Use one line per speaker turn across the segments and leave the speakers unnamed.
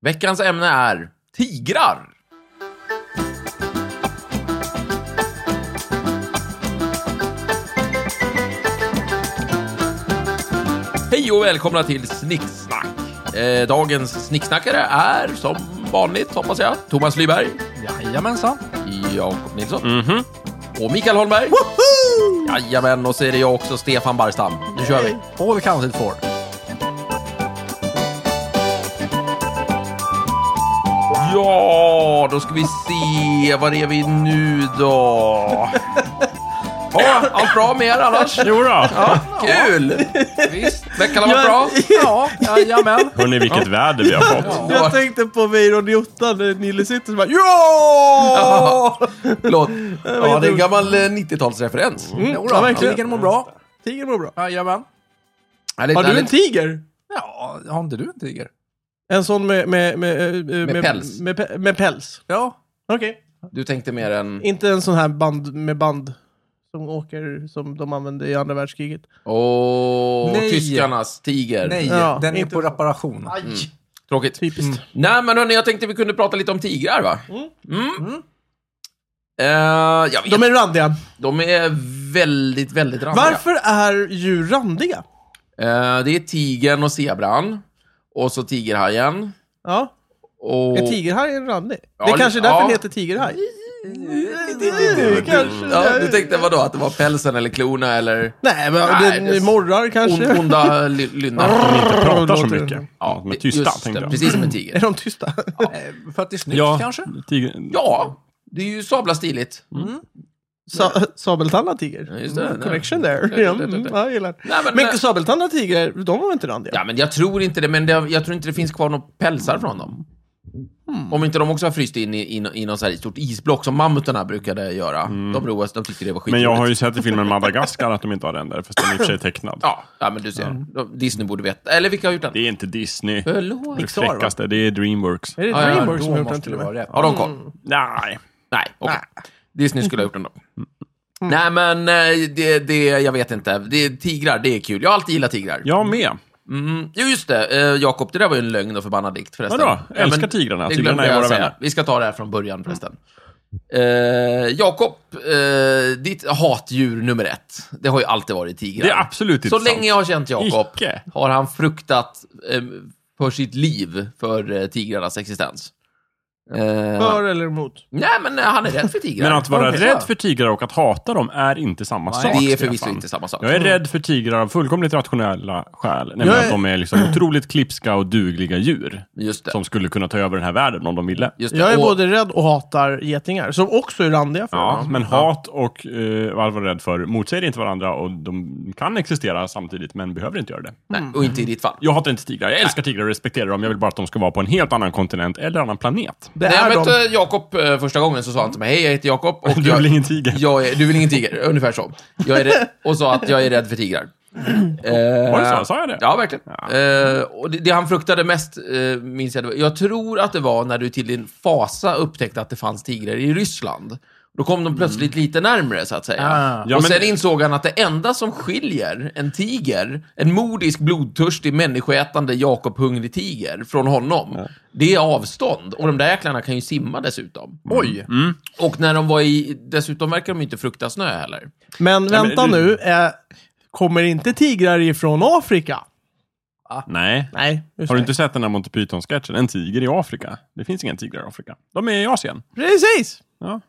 Veckans ämne är tigrar. Hej och välkomna till Snicksnack. Eh, dagens snicksnackare är som vanligt, hoppas jag, Thomas Lyberg,
Jajamensan.
Jakob Nilsson och Mikael Holmberg. Jajamän, och så är det jag också, Stefan Barstam. Nu kör vi.
All accounted for.
Ja, då ska vi se. Var är vi nu då? Ja, allt bra med er annars?
Jo då.
Kul! Visst, veckan har varit bra.
Ja, jajamän.
Hörni, vilket väder vi har fått.
Ja.
Jag tänkte på mig och Jottan när Nille sitter och bara ja!
Förlåt. Ja, det är en gammal eh, 90-talsreferens.
Mm, Jodå,
ja, verkligen.
tigern mår bra.
Tigern mår bra.
Jajamän.
Härligt,
Har du en
härligt.
tiger?
Ja, har inte du en tiger?
En sån med... Med, med, eh, med,
päls.
Med, pe- med päls.
Ja.
Okej.
Du tänkte mer än...
Inte en sån här band med band som åker som de använde i andra världskriget.
Åh,
Nej.
tyskarnas tiger.
Nej,
Ja,
den är
inte-
på reparation. Mm.
Tråkigt.
Typiskt.
Nej, men hörni, jag tänkte vi kunde prata lite om tigrar, va? Mm. Eh, jag vet,
De är randiga.
de är väldigt, väldigt randiga.
Varför är djur randiga?
Eh, det är tigern och zebran. Och så tigerhajen.
Ja,
Och...
en tigerhaj är randig.
Ja,
det är kanske
li-
är därför
ja.
den heter tigerhaj. Kanske.
Ja, du tänkte vadå? Att det var pälsen eller klorna eller
Nej, men
Nej,
den
det är s-
morrar kanske.
on, onda ly- lynnar?
De inte pratar så
Låter-
mycket.
Ja,
De är
det-
tysta,
just
tänkte
det,
jag.
Precis som en
Är
tiger.
de tysta?
Eh, För att det är snyggt
Ja,
kanske?
tig-
Ja, det är ju sabla stiligt.
Mm. Sa- sabeltandad tiger.
Ja, just det.
Mm,
Ja.
Connection
Ja,
there.
ja,
Ja,
ja,
mm,
ja.
ja, jag gillar.
Nej, men-
men sabeltandade tigrar, de var inte randiga?
Ja, men jag tror inte det. Men det, jag tror inte det finns kvar några pälsar från dem.
Hmm.
Om inte de också har fryst in i, i, i något så här stort isblock som mammutarna brukade göra. De roas, de tyckte det var skit.
Mm. Men jag har ju sett i filmen Madagaskar att de inte har ränder, fast den är i och för sig tecknad.
Ja, ja, men du ser. De- Disney borde veta. Eller vilka har gjort den?
Mm. Det är inte Disney. Det
Förlåt.
är fräckaste, det är Dreamworks.
Är det
Ja, ja,
Dreamworks som
Då
har gjort den
måste
till
det
och med?
vara rätt.
Har de koll?
Nej.
Mm. Nej, Mm. okej. Disney skulle ha gjort den då. Nej, men eh, det, det, jag vet inte. Det, tigrar, det är kul. Jag har alltid gillat tigrar.
Jag med.
Mm. Jo, just det. Eh, Jakob, det där var ju en lögn och förbannad dikt förresten.
Vadå? Älskar
men
tigrarna.
det
Tigrarna
glömde
är
jag
våra
säga.
vänner.
Vi ska ta det här från början förresten. Eh, Jakob, eh, ditt hatdjur nummer ett, det har ju alltid varit tigrar.
Det är absolut
Så
inte sant.
länge jag har känt Jakob
Icke.
har han fruktat eh, för sitt liv för eh, tigrarnas existens. Eh,
För eller emot?
Nej, men eh, han är rädd för tigrar.
Men att vara
Okej.
rädd för tigrar och att hata dem är inte samma sak.
Det är
Stefan.
förvisso inte Mm. samma sak.
Jag är rädd för tigrar av fullkomligt rationella skäl. Nämligen
är-
att de är liksom otroligt klipska och dugliga djur.
Just det.
Som skulle kunna ta över den här världen om de ville.
Just det.
Jag är
och,
både rädd och hatar getingar, som också är randiga för
Ja,
mig.
men hat och eh, vad vara rädd för motsäger inte varandra och de kan existera samtidigt men behöver inte göra det.
nej, och inte i ditt fall.
Jag hatar inte tigrar, jag älskar tigrar och respekterar dem. Jag vill bara att de ska vara på en helt annan kontinent eller annan planet.
Det
När jag
är de.
mötte Jakob eh, första gången så sa han till mig, hej jag heter Jakob. och
Du
jag-
vill ingen tiger.
Jag är, du vill ingen tiger, ungefär så. Jag är rädd, och sa att jag är rädd för tigrar.
Var det så? Sa jag det?
Ja, verkligen.
Ja.
Eh, och det, det han fruktade mest, eh, minns jag, det var- jag tror att det var när du till din fasa upptäckte att det fanns tigrar i Ryssland. Då kom de plötsligt lite närmre, så att säga.
Ah.
och
Mm. Ja, men-
sen insåg han att det enda som skiljer en tiger, en modisk, blodtörstig, människoätande, Jakob-hungrig tiger från honom, det är avstånd. Och de där jäklarna kan ju simma dessutom.
Mm.
Oj.
Och när de var i, dessutom verkar de inte frukta snö heller.
Men
men
vänta
du-
nu, eh, kommer inte tigrar ifrån Afrika?
Nej.
Nej, just
Har du
det.
inte sett den här Monty Python-sketchen? En tiger i Afrika. Det finns inga tigrar i Afrika. De är i Asien.
Precis!
Ja.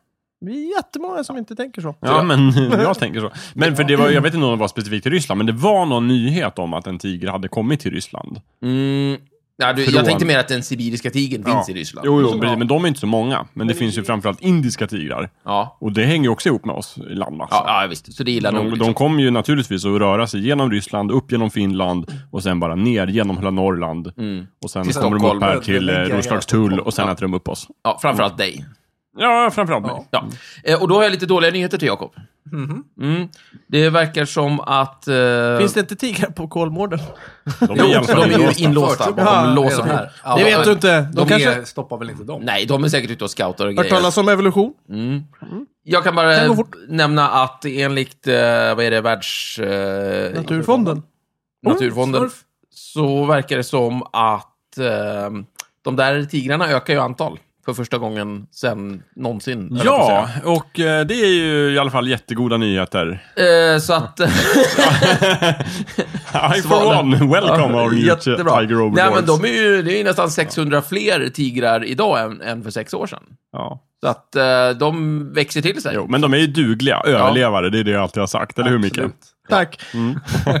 Vi är jättemånga som inte tänker så.
Ja, men jag tänker så. Men för det var, jag vet inte om det var specifikt till Ryssland, men det var någon nyhet om att en tiger hade kommit till Ryssland.
Mm, ja, du, jag
Från-
tänkte mer att den sibiriska tigern finns i
Ja.
Ryssland.
Jo, jo precis, men de är inte så många. Men, det finns ju framförallt indiska tigrar.
Ja.
Och det hänger ju också ihop med oss i landmassa.
Ja, ja, visst. Så det gillar nog. liksom-
De, de kommer ju naturligtvis att röra sig genom Ryssland, upp genom Finland och sen bara ner genom hela Norrland. Och sen
Till
kommer
Mm. Stockholm.
de upp här till eh,
Lägga hela
Roslagstull och sen äter de upp oss.
Ja, framförallt dig.
Ja, framförallt mig.
Ja. Eh, Och då har jag lite dåliga nyheter till Jakob. Mm. Det verkar som att... eh,
Mhm. Finns det inte tigrar på Kolmården?
De
Jo,
är i alla
de
fall
är ju
inlåsta.
inlåsta.
Förtur-
bakom
Ja,
lås och
redan
bom.
här.
Ja,
det vet
men-
du inte. De,
de
kanske...
är, stoppar väl inte dem?
Nej, de är säkert ute och scoutar och
Hört
grejer. Mm.
talas om evolution?
Jag kan bara
Kan gå
eh,
fort.
nämna att enligt, eh, vad är det, världs... eh,
Naturfonden?
Naturfonden.
Smurf.
Så verkar det som att eh, de där tigrarna ökar ju antal för första gången sen någonsin. höll jag på att
Ja, och eh, det är ju i alla fall jättegoda nyheter.
säga. Eh, så att...
I for
Svalen.
one, welcome our new
jättebra.
Tiger Overlords.
Nej, men de är ju, det är ju nästan 600 fler tigrar idag än, än för sex år sedan.
Ja.
Så att eh, de växer till sig.
Jo, men de är ju dugliga överlevare, det är det jag alltid har sagt. Eller hur Micke?
Tack.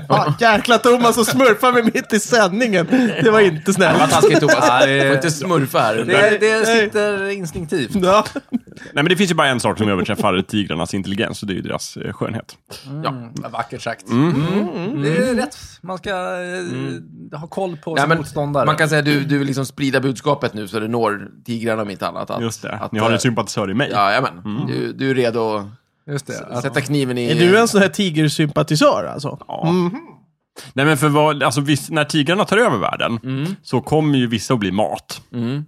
Ah, jäklar Thomas och smurfar mig mitt i sändningen. Det var inte
Det var
snällt.
taskigt Thomas.
Ja,
Du
det-
får inte smurfa här.
Det, det sitter instinktivt.
Ja.
Nej, men det finns ju bara en sak som överträffar tigrarnas intelligens och det är ju deras eh, skönhet.
Mm, vackert sagt. Mm. Det är rätt. Man ska eh, ha koll på
Nej,
sin
men
motståndare.
Man kan säga att du, du vill liksom sprida budskapet nu så det når tigrarna om inte annat. Att,
Just det.
Att,
Ni har
eh,
en Mm. sympatisör i mig.
Ja, jajamän. Du, du är redo att
Just det. Att,
sätta kniven i...
Är du en sån här tigersympatisör alltså?
Ja. Nej, men för vad, alltså, viss, när tigrarna tar över världen så kommer ju vissa att bli mat.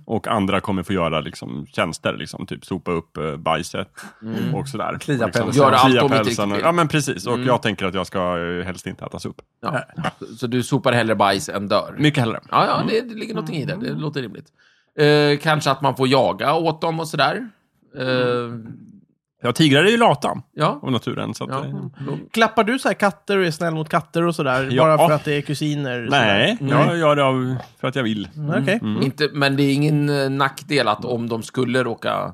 Och andra kommer få göra liksom, tjänster, liksom, typ sopa upp eh, bajset och sådär.
Klia
Och liksom,
pälsen.
Göra allt de
klia
inte
pälsen
riktigt
och-
vill.
Ja, men precis. Och
Mm.
jag tänker att jag ska eh, helst inte ätas upp.
Ja. Så- Så du sopar hellre bajs än dör?
Mycket hellre.
Ja, ja det, det
Mm.
ligger någonting i det. Det låter rimligt. Eh, kanske att man får jaga åt dem och sådär. Eh,
Ja, tigrar är ju lata
Ja.
av naturen. Så att,
ja.
eh,
Klappar du så här katter och är snäll mot katter och sådär?
Ja.
Bara för att det är kusiner?
Nej, jag gör det av, för att jag vill.
sådär? Okej.
Mm. Inte, men det är ingen eh, nackdel att om de skulle råka... eh,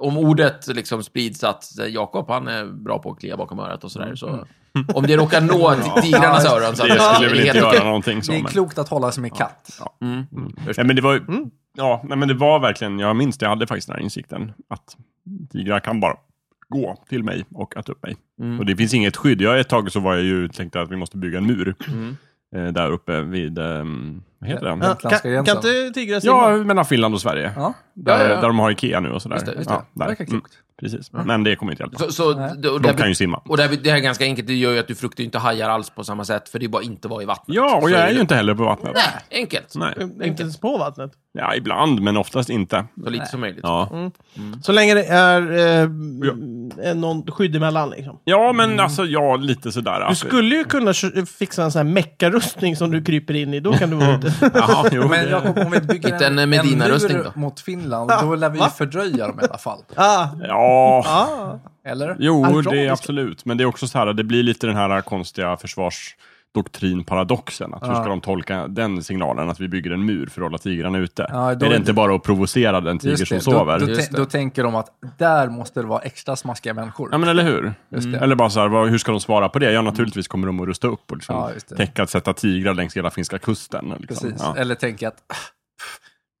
Om ordet liksom sprids att eh, Jakob, han är bra på att klia bakom örat och sådär. Så om det råkar nå till tigrarnas öron så att
Mm. Det skulle väl
helt
inte göra
okej.
någonting så.
det är
men-
klokt att hålla sig med katt.
Ja, men det var ju, ja, nej, men det var verkligen, jag minns det, jag hade faktiskt den här insikten att tigrar kan bara gå till mig och äta upp mig. Och det finns inget skydd. Jag ett tag så var jag ju, tänkte att vi måste bygga en mur eh, där uppe vid, ehm, vad heter den?
Ja,
Ja.
Utländska
Kan,
gränsen.
kan inte tigrar simma?
Ja, mellan Finland och Sverige.
Ja.
Där,
Ja, ja, ja.
där de har Ikea nu och sådär.
Just det, just det.
Ja,
Det
där.
verkar
Mm,
klokt.
precis, men det kommer inte hjälpa.
Så, så,
Nej.
och det,
De
här-
kan ju simma.
och det, här, det här är ganska enkelt, det gör ju att du fruktar ju inte hajar alls på samma sätt, för det är bara inte att vara i vattnet.
Ja,
Så
och jag är
det-
ju inte heller på vattnet.
Nej, enkelt.
Nej.
Inte ens på vattnet?
Ja, ibland, men oftast inte.
Så lite som möjligt.
Ja.
Så länge det är eh, eh, någon skydd emellan liksom.
Ja, men alltså, ja, lite sådär.
Du
alltså.
skulle ju kunna kö- fixa en sån här meckarustning som du kryper in i, då kan du vara ute.
Jaha, jo,
Men
det-
Jakob, om vi
Inte
bygger
en
en,
Medina-rustning
mur
då?
mot Finland, då lär vi
Va?
fördröja dem i alla fall.
ah,
Ja,
ah.
Eller?
Jo, det är
Ironiska.
absolut. Men det är också så här, det blir lite den här konstiga försvarsdoktrinparadoxen. Att hur
Ja.
ska de tolka den signalen att vi bygger en mur för att hålla tigrarna ute?
Ja, då
är det
är
inte bara att provocera den tiger som sover?
Då, då,
Just
tän-
det.
då tänker de att där måste det vara extra smaskiga människor.
Ja men eller hur? Mm.
det.
Eller bara så här, vad, hur ska de svara på det? Ja naturligtvis kommer de att rusta upp och liksom
Ja, just det.
täcka att sätta tigrar längs hela finska kusten. Liksom.
Precis.
Ja.
Eller tänker att, "Ah,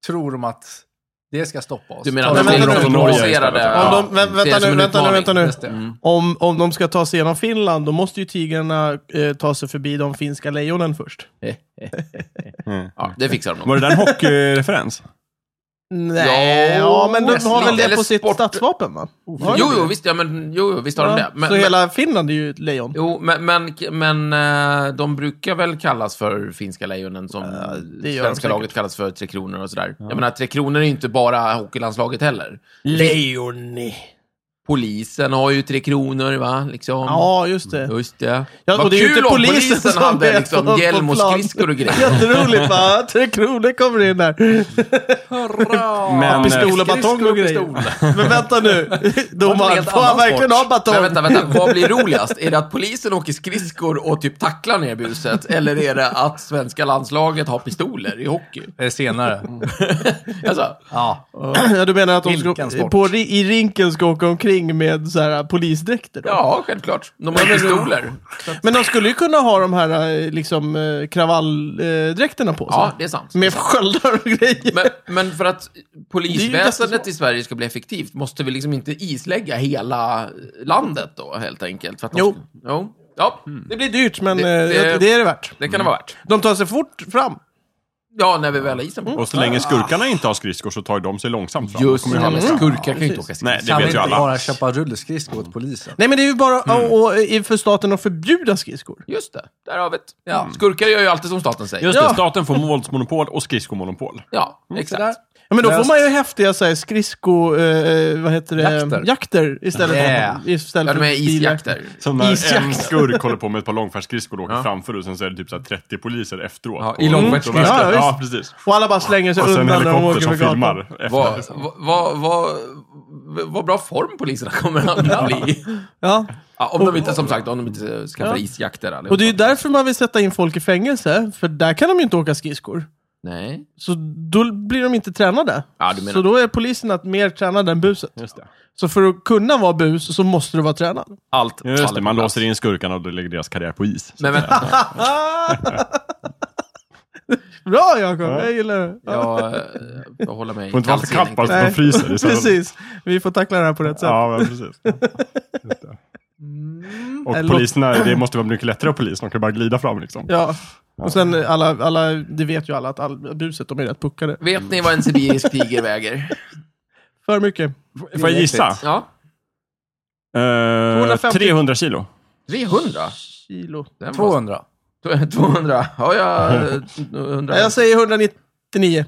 tror de att det ska stoppa oss?
Du menar
Tar
att
Men
de
vänta
kommer
nu.
att provocera det?
Ja,
Om de, vä-
ser det
vänta,
som
nu,
en
vänta nu,
utmaning.
vänta nu.
Just det.
Mm.
Om, om de ska ta sig igenom Finland, då måste ju tigrarna eh, ta sig förbi de finska lejonen först.
Mm.
Ja, det fixar de nog.
Var det där en hockeyreferens?
Nej, ja, men de
nästan.
har väl
Eller
det på sitt
sport-
statsvapen va? Har de
Jo,
det?
jo, visst, ja, men, jo, jo, visst har de det.
Ja,
Men,
så
men,
hela Finland är ju ett lejon.
Jo, men, men, men eh, de brukar väl kallas för finska lejonen som
det gör de
svenska
säkert.
laget kallas för Tre Kronor och sådär. Jag menar, Tre Kronor är ju inte bara hockeylandslaget heller.
Lejoni.
Polisen har ju Tre Kronor, va? Liksom.
Ja, just det.
Just det.
Ja,
Vad
och det är ju
kul
inte
om
polisen som
hade
är på-
liksom
på
hjälm och
plan.
skridskor och grejer.
Jätteroligt va? Tre kronor kommer in där.
Hurra!
Men,
Pistol och
skridskor
batong och
och
grejer. Men vänta nu.
en
Domaren,
helt
får han
annan
verkligen
sport.
ha batong?
Men vänta, vänta, vad blir roligast? Är det att polisen åker skridskor och typ tacklar ner buset? Eller är det att svenska landslaget har pistoler i hockey?
Eh,
Mm.
Senare.
Alltså,
Ja.
Ja, du menar att de
Vilken
ska,
sport?
på, ri- i rinken ska åka omkring med så här, eh, polisdräkter? Då?
ja, självklart. De har pistoler.
Men de skulle ju kunna ha de här eh, liksom, eh, kravalldräkterna på sig.
Ja, det är sant.
Med sköldar och grejer.
Men, men för att polisväsendet
jättesvårt.
i Sverige ska bli effektivt måste vi liksom inte islägga hela landet då, helt enkelt? För att de
Jo.
ska- jo. Ja,
Det blir dyrt, men
Det-
det,
det-
det, det är det värt.
det kan det vara värt.
De tar sig fort fram.
Ja, när vi väl har isen på.
Och så länge skurkarna inte har skridskor så tar de sig långsamt fram.
Just
De
Mm.
kommer ju
det,
aldrig fram.
skurkar kan ju inte
precis.
åka skridskor.
Nej, det
Kan vi
vet ju
inte
alla.
bara köpa rullskridskor åt polisen?
Nej, men det är ju bara mm. och, i- för staten att förbjuda skridskor.
Just det, där har vi det. Skurkar gör ju alltid som staten säger.
Just det,
Ja.
staten får våldsmonopol och skridskomonopol.
Ja,
Sådär.
exakt.
Ja, men då
Löst.
får man ju häftiga så här, skridsko... Eh, vad heter det?
Jakter.
Jakter istället
Yeah.
för... Istället
Ja, de är isjakter.
Som när
Isjakt.
en skurk håller på med ett par långfärdsskridskor och åker framför och sen så är det typ så här 30 poliser efteråt.
Ja,
På-
I
på
långfärdsskridskor.
vägen.
Ja, just
Ja, precis.
Och alla bara slänger sig
Och sen en
undan när de åker
helikopter
över
som filmar.
gatan.
efter.
Vad vad- vad- vad bra form poliserna kommer att bli i.
Ja.
Ja, om de inte, som sagt, om de inte skaffar isjakter allihopa.
Och det är ju därför man vill sätta in folk i fängelse, för där kan de ju inte åka skridskor.
Nej.
Så då blir de inte tränade.
Ja, du menar-
Så då är poliserna mer tränade än buset.
Just det.
Så för att kunna vara bus så måste du vara tränad.
Allt
Just
faller
det,
på
man
plats.
låser in skurkarna och då lägger deras karriär på is.
Men vänta,
Bra Jakob, jag gillar det. Ja.
jag eh, får hålla mig
Får inte vara för kallt bara så att
Nej.
man fryser. Det är så-
Precis, vi får tackla det här på rätt sätt.
Ja, men precis. Just det. Och
Mm, Eller-
poliserna, det måste vara mycket lättare att polis. De kan bara glida fram liksom.
Ja. Och sen alla, alla, det vet ju alla att all, buset, de är rätt puckade.
Vet ni vad en sibirisk tiger väger?
För mycket.
Får jag gissa?
Ja,
Eh,
250.
300 kilo.
300.
Kilo.
Den var-
200.
200. Ja, jag... eh, 100.
Nej, jag säger 199.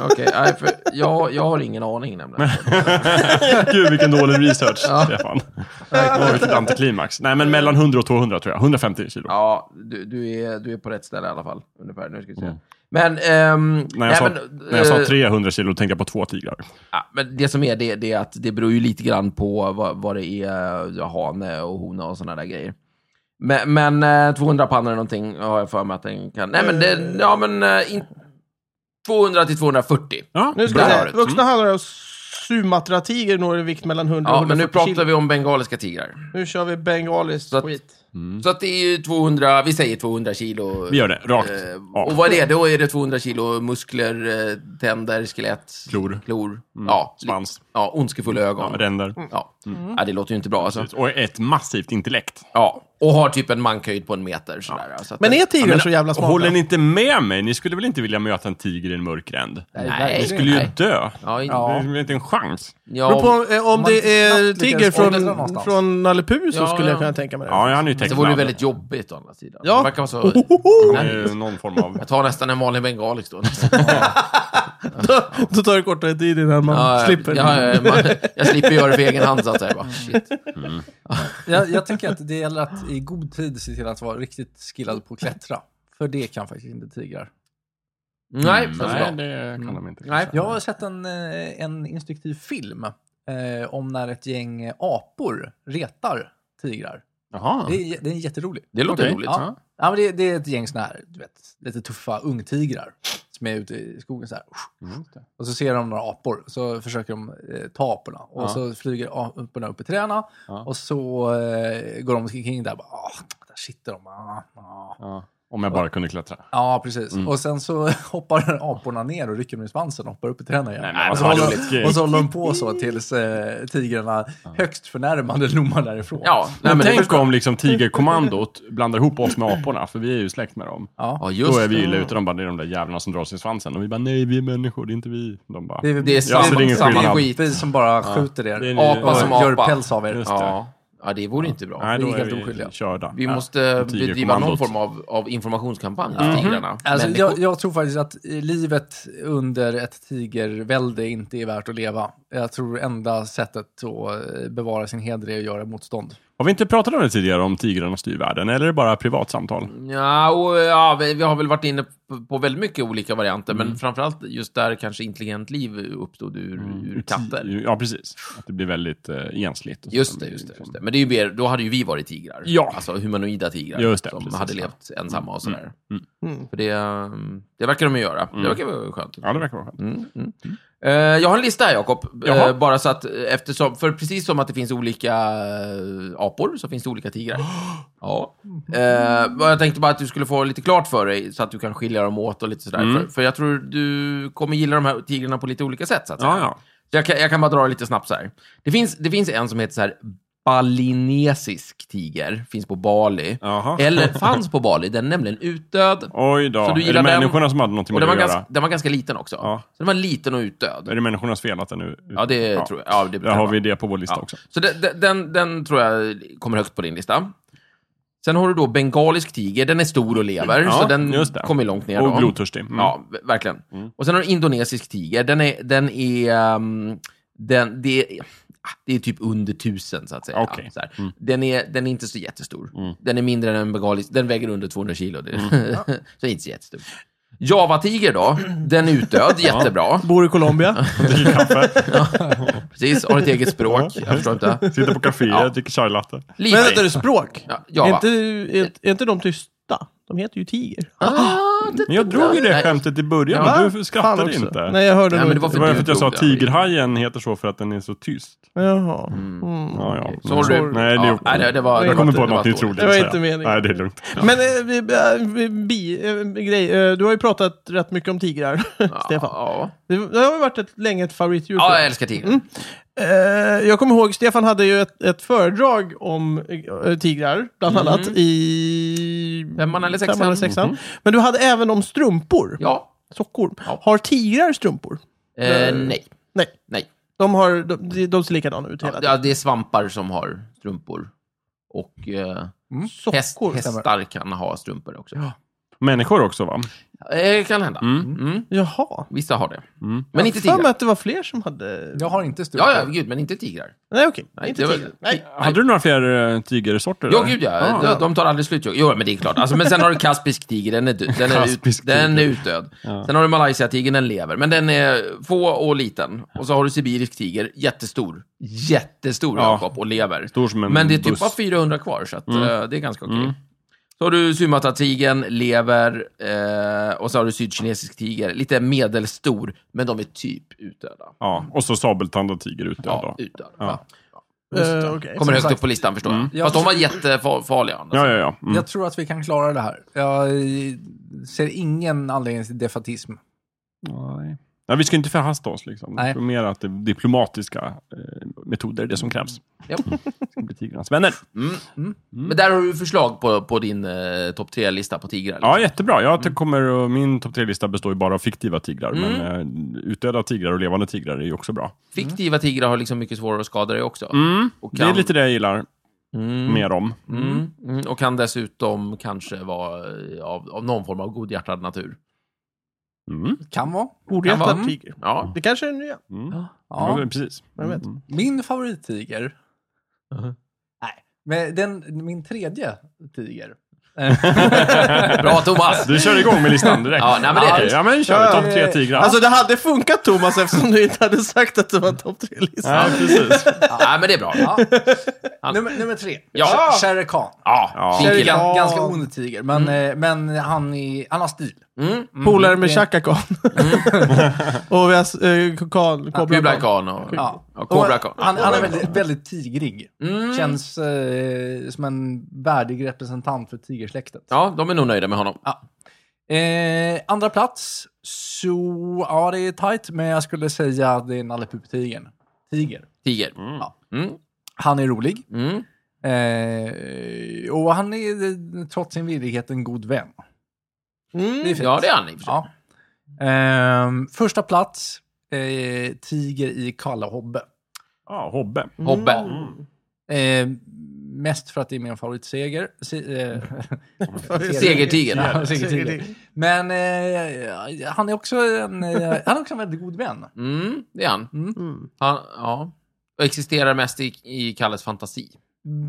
Okej, nej, för jag, jag har ingen aning nämligen.
Gud, vilken dålig research, Stefan. Oj, vilket antiklimax. Nej, men mellan 100 och 200 tror jag. 150 kilo.
Ja, du, du, är, du är på rätt ställe i alla fall. Ungefär, nu ska vi se. Men... ehm,
Mm. När, jag
nej,
sa,
men,
när jag sa
eh,
300 kilo tänkte jag på två tigrar.
Ja, men det som är det, det är att det beror ju lite grann på vad, vad det är, ja, hane och hona och sådana där grejer. Men, men eh, 200 pannor eller någonting har jag för mig att den kan... Nej, men det, ja, men... eh, In, 200 till 240.
Ja,
Nu ska
Bra.
vi
Där har
se.
du.
Vuxna hanar och sumatratigrar når i vikt mellan 100 och
Ja, men
140
nu pratar
kilo.
vi om bengaliska tigrar.
Nu kör vi bengaliskt
Så att-
skit.
Så att det är ju 200, vi säger 200 kilo.
Mm. Vi gör det, rakt
Eh,
av.
och vad är det? Då är det 200 kilo muskler, eh, tänder, skelett.
Klor.
Klor. Ja,
Svans.
ja, ondskefulla ögon. Ja,
Ränder.
Ja, det låter ju inte bra alltså.
Och ett massivt intellekt.
Ja, och har typ en mankhöjd på en meter sådär. ja, Så att
Men
det-
är tigrar så jävla smarta?
Håller ni inte med mig? Ni skulle väl inte vilja möta en tiger i en mörk gränd?
Nej.
Ni skulle ju
Nej.
dö.
Ja, in-
Det är inte en chans.
Beror
ja,
på, eh, om
man
det är
knappt lyckas
tiger
åka
från,
någonstans.
från Nalle Puh så
Ja,
skulle jag
ja.
kunna tänka mig det.
Ja, han är ju
det
tecknad.
vore ju väldigt jobbigt å andra sidan.
Ja.
Det verkar vara så...
Han är ju någon form av...
Jag tar nästan en vanlig bengalisk då.
Då- Då tar det kortare tid innan man
Ja,
slipper.
Ja, ja, man, jag slipper göra det för egen hand så att säga. Bara, shit.
Jag, jag tänker att det gäller att i god tid se till att vara riktigt skillad på att klättra. För det kan faktiskt inte tigrar.
Nej,
Mm,
så bra.
Nej, det kan de inte.
Mm. Nej.
Jag har sett en, eh, en instruktiv film eh, om när ett gäng eh, apor retar tigrar.
Jaha.
Det är, j- den är jätterolig.
Det låter
Okej.
roligt.
Ja. Ja, men det, det är ett gäng såna här, du vet, lite tuffa ungtigrar som är ute i skogen så här.
Mm.
Och så ser de några apor, så försöker de eh, ta aporna. Och
Ja.
så flyger aporna upp i träna
Ja.
och så eh, går de omkring där och bara, ah, där sitter de. Ah, ah.
Ja. Om jag bara kunde klättra.
Ja, precis.
Mm.
Och sen så hoppar aporna ner och rycker dem i svansen och hoppar upp i träna igen.
Nej, men alltså,
och, så
vad
håller,
roligt.
och så håller de på så tills eh, tigrarna högst förnärmande lommar därifrån.
Ja, nej,
Men
men det
tänk
förstår jag.
om liksom tigerkommandot blandar ihop oss med aporna, för vi är ju släkt med dem.
Ja.
Ja,
Då
just
är vi
det.
illa ute. De bara, det är de där jävlarna som drar sig i svansen. Och vi bara, nej, vi är människor, det är inte vi. De bara,
väl-
Det är
Ja, så det är ingen
samma, samma
skillnad.
skit.
Vi som bara skjuter er.
Det är ni-
Apa
och
som
gör
apa.
päls av er.
Just det.
Ja. ja, det vore inte bra.
nej,
vi
då
är helt
är vi
oskyldiga.
körda.
Vi
Ja.
måste bedriva någon
tigerkommandot.
form av, av informationskampanj
Mhm.
till tigrarna.
Alltså,
Människor-
jag, jag tror faktiskt att livet under ett tigervälde inte är värt att leva. Jag tror enda sättet att eh, bevara sin heder är att göra motstånd.
Har vi inte pratat om det tidigare, om tigrarna styr världen? Eller är det bara privat samtal?
Mm, Ja, och, ja, vi, vi har väl varit inne på, på väldigt mycket olika varianter,
Mm.
men framförallt just där kanske intelligent liv uppstod ur, ur katter.
Ja, Mm, precis. Att det blir väldigt eh, ensligt. och så. liksom-
Just det, just det, just det. Men det är ju mer, då hade ju vi varit tigrar.
Ja.
Alltså humanoida tigrar.
Just det,
som
precis,
hade
ja.
levt ensamma och sådär.
Mm.
För det, um, det verkar de ju göra.
Mm.
Det verkar vara skönt.
Ja, det verkar vara skönt.
Mm, mm. Eh, jag har en lista här, Jakob.
Jaha.
Eh, bara så att, eh, eftersom, för precis som att det finns olika eh, apor, så finns det olika tigrar. ja. Eh, och jag tänkte bara att du skulle få lite klart för dig, så att du kan skilja dem åt och lite sådär.
Mm.
För, för jag tror du kommer gilla de här tigrarna på lite olika sätt, så att säga.
Ja, ja.
Så jag, kan, jag kan bara dra lite snabbt så här. Det finns, det finns en som heter så här, balinesisk tiger, finns på Bali.
Jaha.
Eller fanns på Bali, den är nämligen utdöd.
Oj då.
Så du
är det
gillar den?
människorna som hade någonting
Och
med
den
det
var,
att göra?
ganska, den var ganska liten också.
Ja.
Så den var liten och utdöd.
Är det människornas fel att den nu...
Ja, det tror jag. Ja, det
Där har vi det på vår lista
Ja.
också.
Så de- de- den, den tror jag kommer högt på din lista. Sen har du då bengalisk tiger. Den är stor och lever,
Ja,
så den
just det.
kommer långt ner.
Och
då.
blodtörstig. Mm.
Ja, v- verkligen. Och sen har du indonesisk tiger. Den är... Den är ehm, den, det, är- ah, det är typ under tusen, så att säga.
Okej. Mm.
Så här. Den, är, den är inte så
Mm.
jättestor. Den är mindre än en bengalisk. Den väger under 200 kilo. Det, så den är inte så jättestor. Javatiger då, den är utdöd, jättebra.
Bor i Colombia.
Dricker kaffe,
Precis, har ett eget språk. Jag förstår inte.
sitter på kaféer,
Ja.
dricker chai latte.
Lite.
Men heter det språk?
Ja,
Är
Java.
inte, är, är inte de tysta? De heter ju tiger.
Ah, det-
Men jag drog ju det
Nej.
skämtet i början,
Ja.
men du
Fan
skrattade
också.
inte.
Nej, jag hörde
Nej,
nog
men det
inte.
var
Det var
du
för att jag sa
drog
att
det.
tigerhajen heter så för att den är så tyst.
Jaha.
Mm.
Mm.
Ja, ja.
Så håller du-
Nej, det,
Ja, nej, det- det var-
jag kommer
det
på
var
något ni
dåligt.
trodde.
Det var
säga.
inte meningen.
Nej, det är lugnt.
Men eh, vi, eh, vi, bi, eh, grej, eh, du har ju pratat rätt mycket om tigrar, Stefan.
Ja,
Det, det har ju varit ett, länge ett favoritdjur för
ja jag
dig.
älskar tigrar.
Eh, jag kommer ihåg, Stefan hade ju ett, ett föredrag om eh, tigrar, bland annat, i...
Mm. Femman eller sexan. Mhm.
femman sexan. Men du hade även om strumpor,
Ja.
sockor. Har tigrar strumpor?
Eh, nej.
Nej,
Nej.
de, har, de, de ser likadana ut hela tiden.
Ja, det är svampar som har strumpor. Och eh, häst,
Sockor.
hästar kan ha strumpor också. Eh,
Människor också va?
Det kan hända. Mm.
Jaha.
Vissa har det.
Mm.
Men inte
För mig
tigrar.
att det var fler som hade...
Jag har inte strumpor.
Ja, Mm. ja, gud, men inte tigrar.
Nej, okej.
Nej,
inte
det var-
tigrar. Nej.
Hade du några fler eh, tigersorter?
Ja,
där?
gud ja. De, de tar aldrig slut. Jo, Jo, men det är klart. Alltså, men sen har du kaspisk tiger, den är, dö- den är, ut,
Kaspisk
den är
tiger.
utdöd. Sen har du malaysiatigern, den lever. Men den är få och liten. Och så har du sibirisk tiger, jättestor. Jättestor,
Ja.
Jakob, och lever.
Stor som en
men det är typ
buss. Mm.
bara 400 kvar, så att, eh, det är ganska okej. Så har du sumatatigern, lever, eh, och så har du sydkinesisk tiger. Lite medelstor, men de är typ utdöda.
Ja, och så sabeltandad tiger ute
Ja,
ja. då.
utdöda.
Ja. Mm.
Eh, okej.
Kommer högt
sagt.
upp på listan, förstår jag.
Ja.
Fast de var jättefarliga. Alltså.
Ja, ja, ja. Mm.
Jag tror att vi kan klara det här. Jag eh, ser ingen anledning till defatism.
Nej. Nej, vi ska inte förhasta oss liksom.
Nej.
Jag tror mer att det är diplomatiska eh, metoder är det som krävs.
Mm. Ja.
Det blir tigrarnas vänner. Mm.
Men där har du förslag på, på din eh, topp tre-lista på tigrar. liksom.
Ja, jättebra. Jag ty- kommer, att- min topp tre-lista består ju bara av fiktiva tigrar.
Mm.
Men eh, utdöda tigrar och levande tigrar är ju också bra.
Fiktiva tigrar har liksom mycket svårare att skada dig också. Och
Mm. Det
kan,
är lite det jag gillar mer om.
mm, mm, och kan dessutom kanske vara eh, av, av någon form av godhjärtad natur.
Mm.
Kan vara.
Kan
Godhjärtad
vara.
tiger.
Ja.
Det kanske är nya.
Mm. Ja.
Ja.
precis.
Jag vet.
Mm.
Min favorittiger. Nej, men den, min tredje tiger.
Bra, Thomas!
Mm. Du kör igång med listan direkt. Ah,
Ja, nej, men det-
Okej, ja, men kör vi. Topp tre tigrar.
Alltså det hade funkat Thomas eftersom du inte hade sagt att det var topp tre-listan.
Nej, precis.
Nej, men det är bra.
Ja. nummer, nummer tre.
Ja.
Shere Khan.
Ja,
Ja.
fin kille.
Ja.
Ganska ond tiger, men, eh, men han, är, han har stil.
Mm.
Polare med
det-
Chaka Khan.
Mm.
och vi har eh, Khan, Kobra
Kubla
Khan.
Khan och
Mm. Ja.
ja, Cobra Khan. Mm.
Och Han, han är väldigt, väldigt tigrig. Känns eh, som en värdig representant för tigersläktet.
Ja, de är nog nöjda med honom.
Eh, andra plats, så ja det är tight, men jag skulle säga att det är Nalle Puh-tigern. Tiger.
Tiger.
Ja.
Mm.
Han är rolig.
Mm.
Eh, och han är eh, trots sin virrighet en god vän.
Mm.
fint.
Ja, det är han i och för sig.
Ja. Ehm, första plats, eh, Tiger i Kalle Hobbe.
Ja, Hobbe.
Mm.
Hobbe.
Mm.
Ehm, mest för att det är min favoritseger. Se, eh,
Segertiger.
ja, segertiger. Men eh, han, är också en, eh, han är också en väldigt god vän.
Mm, det är han.
Mm.
han ja. Och existerar mest i, i Kalles fantasi.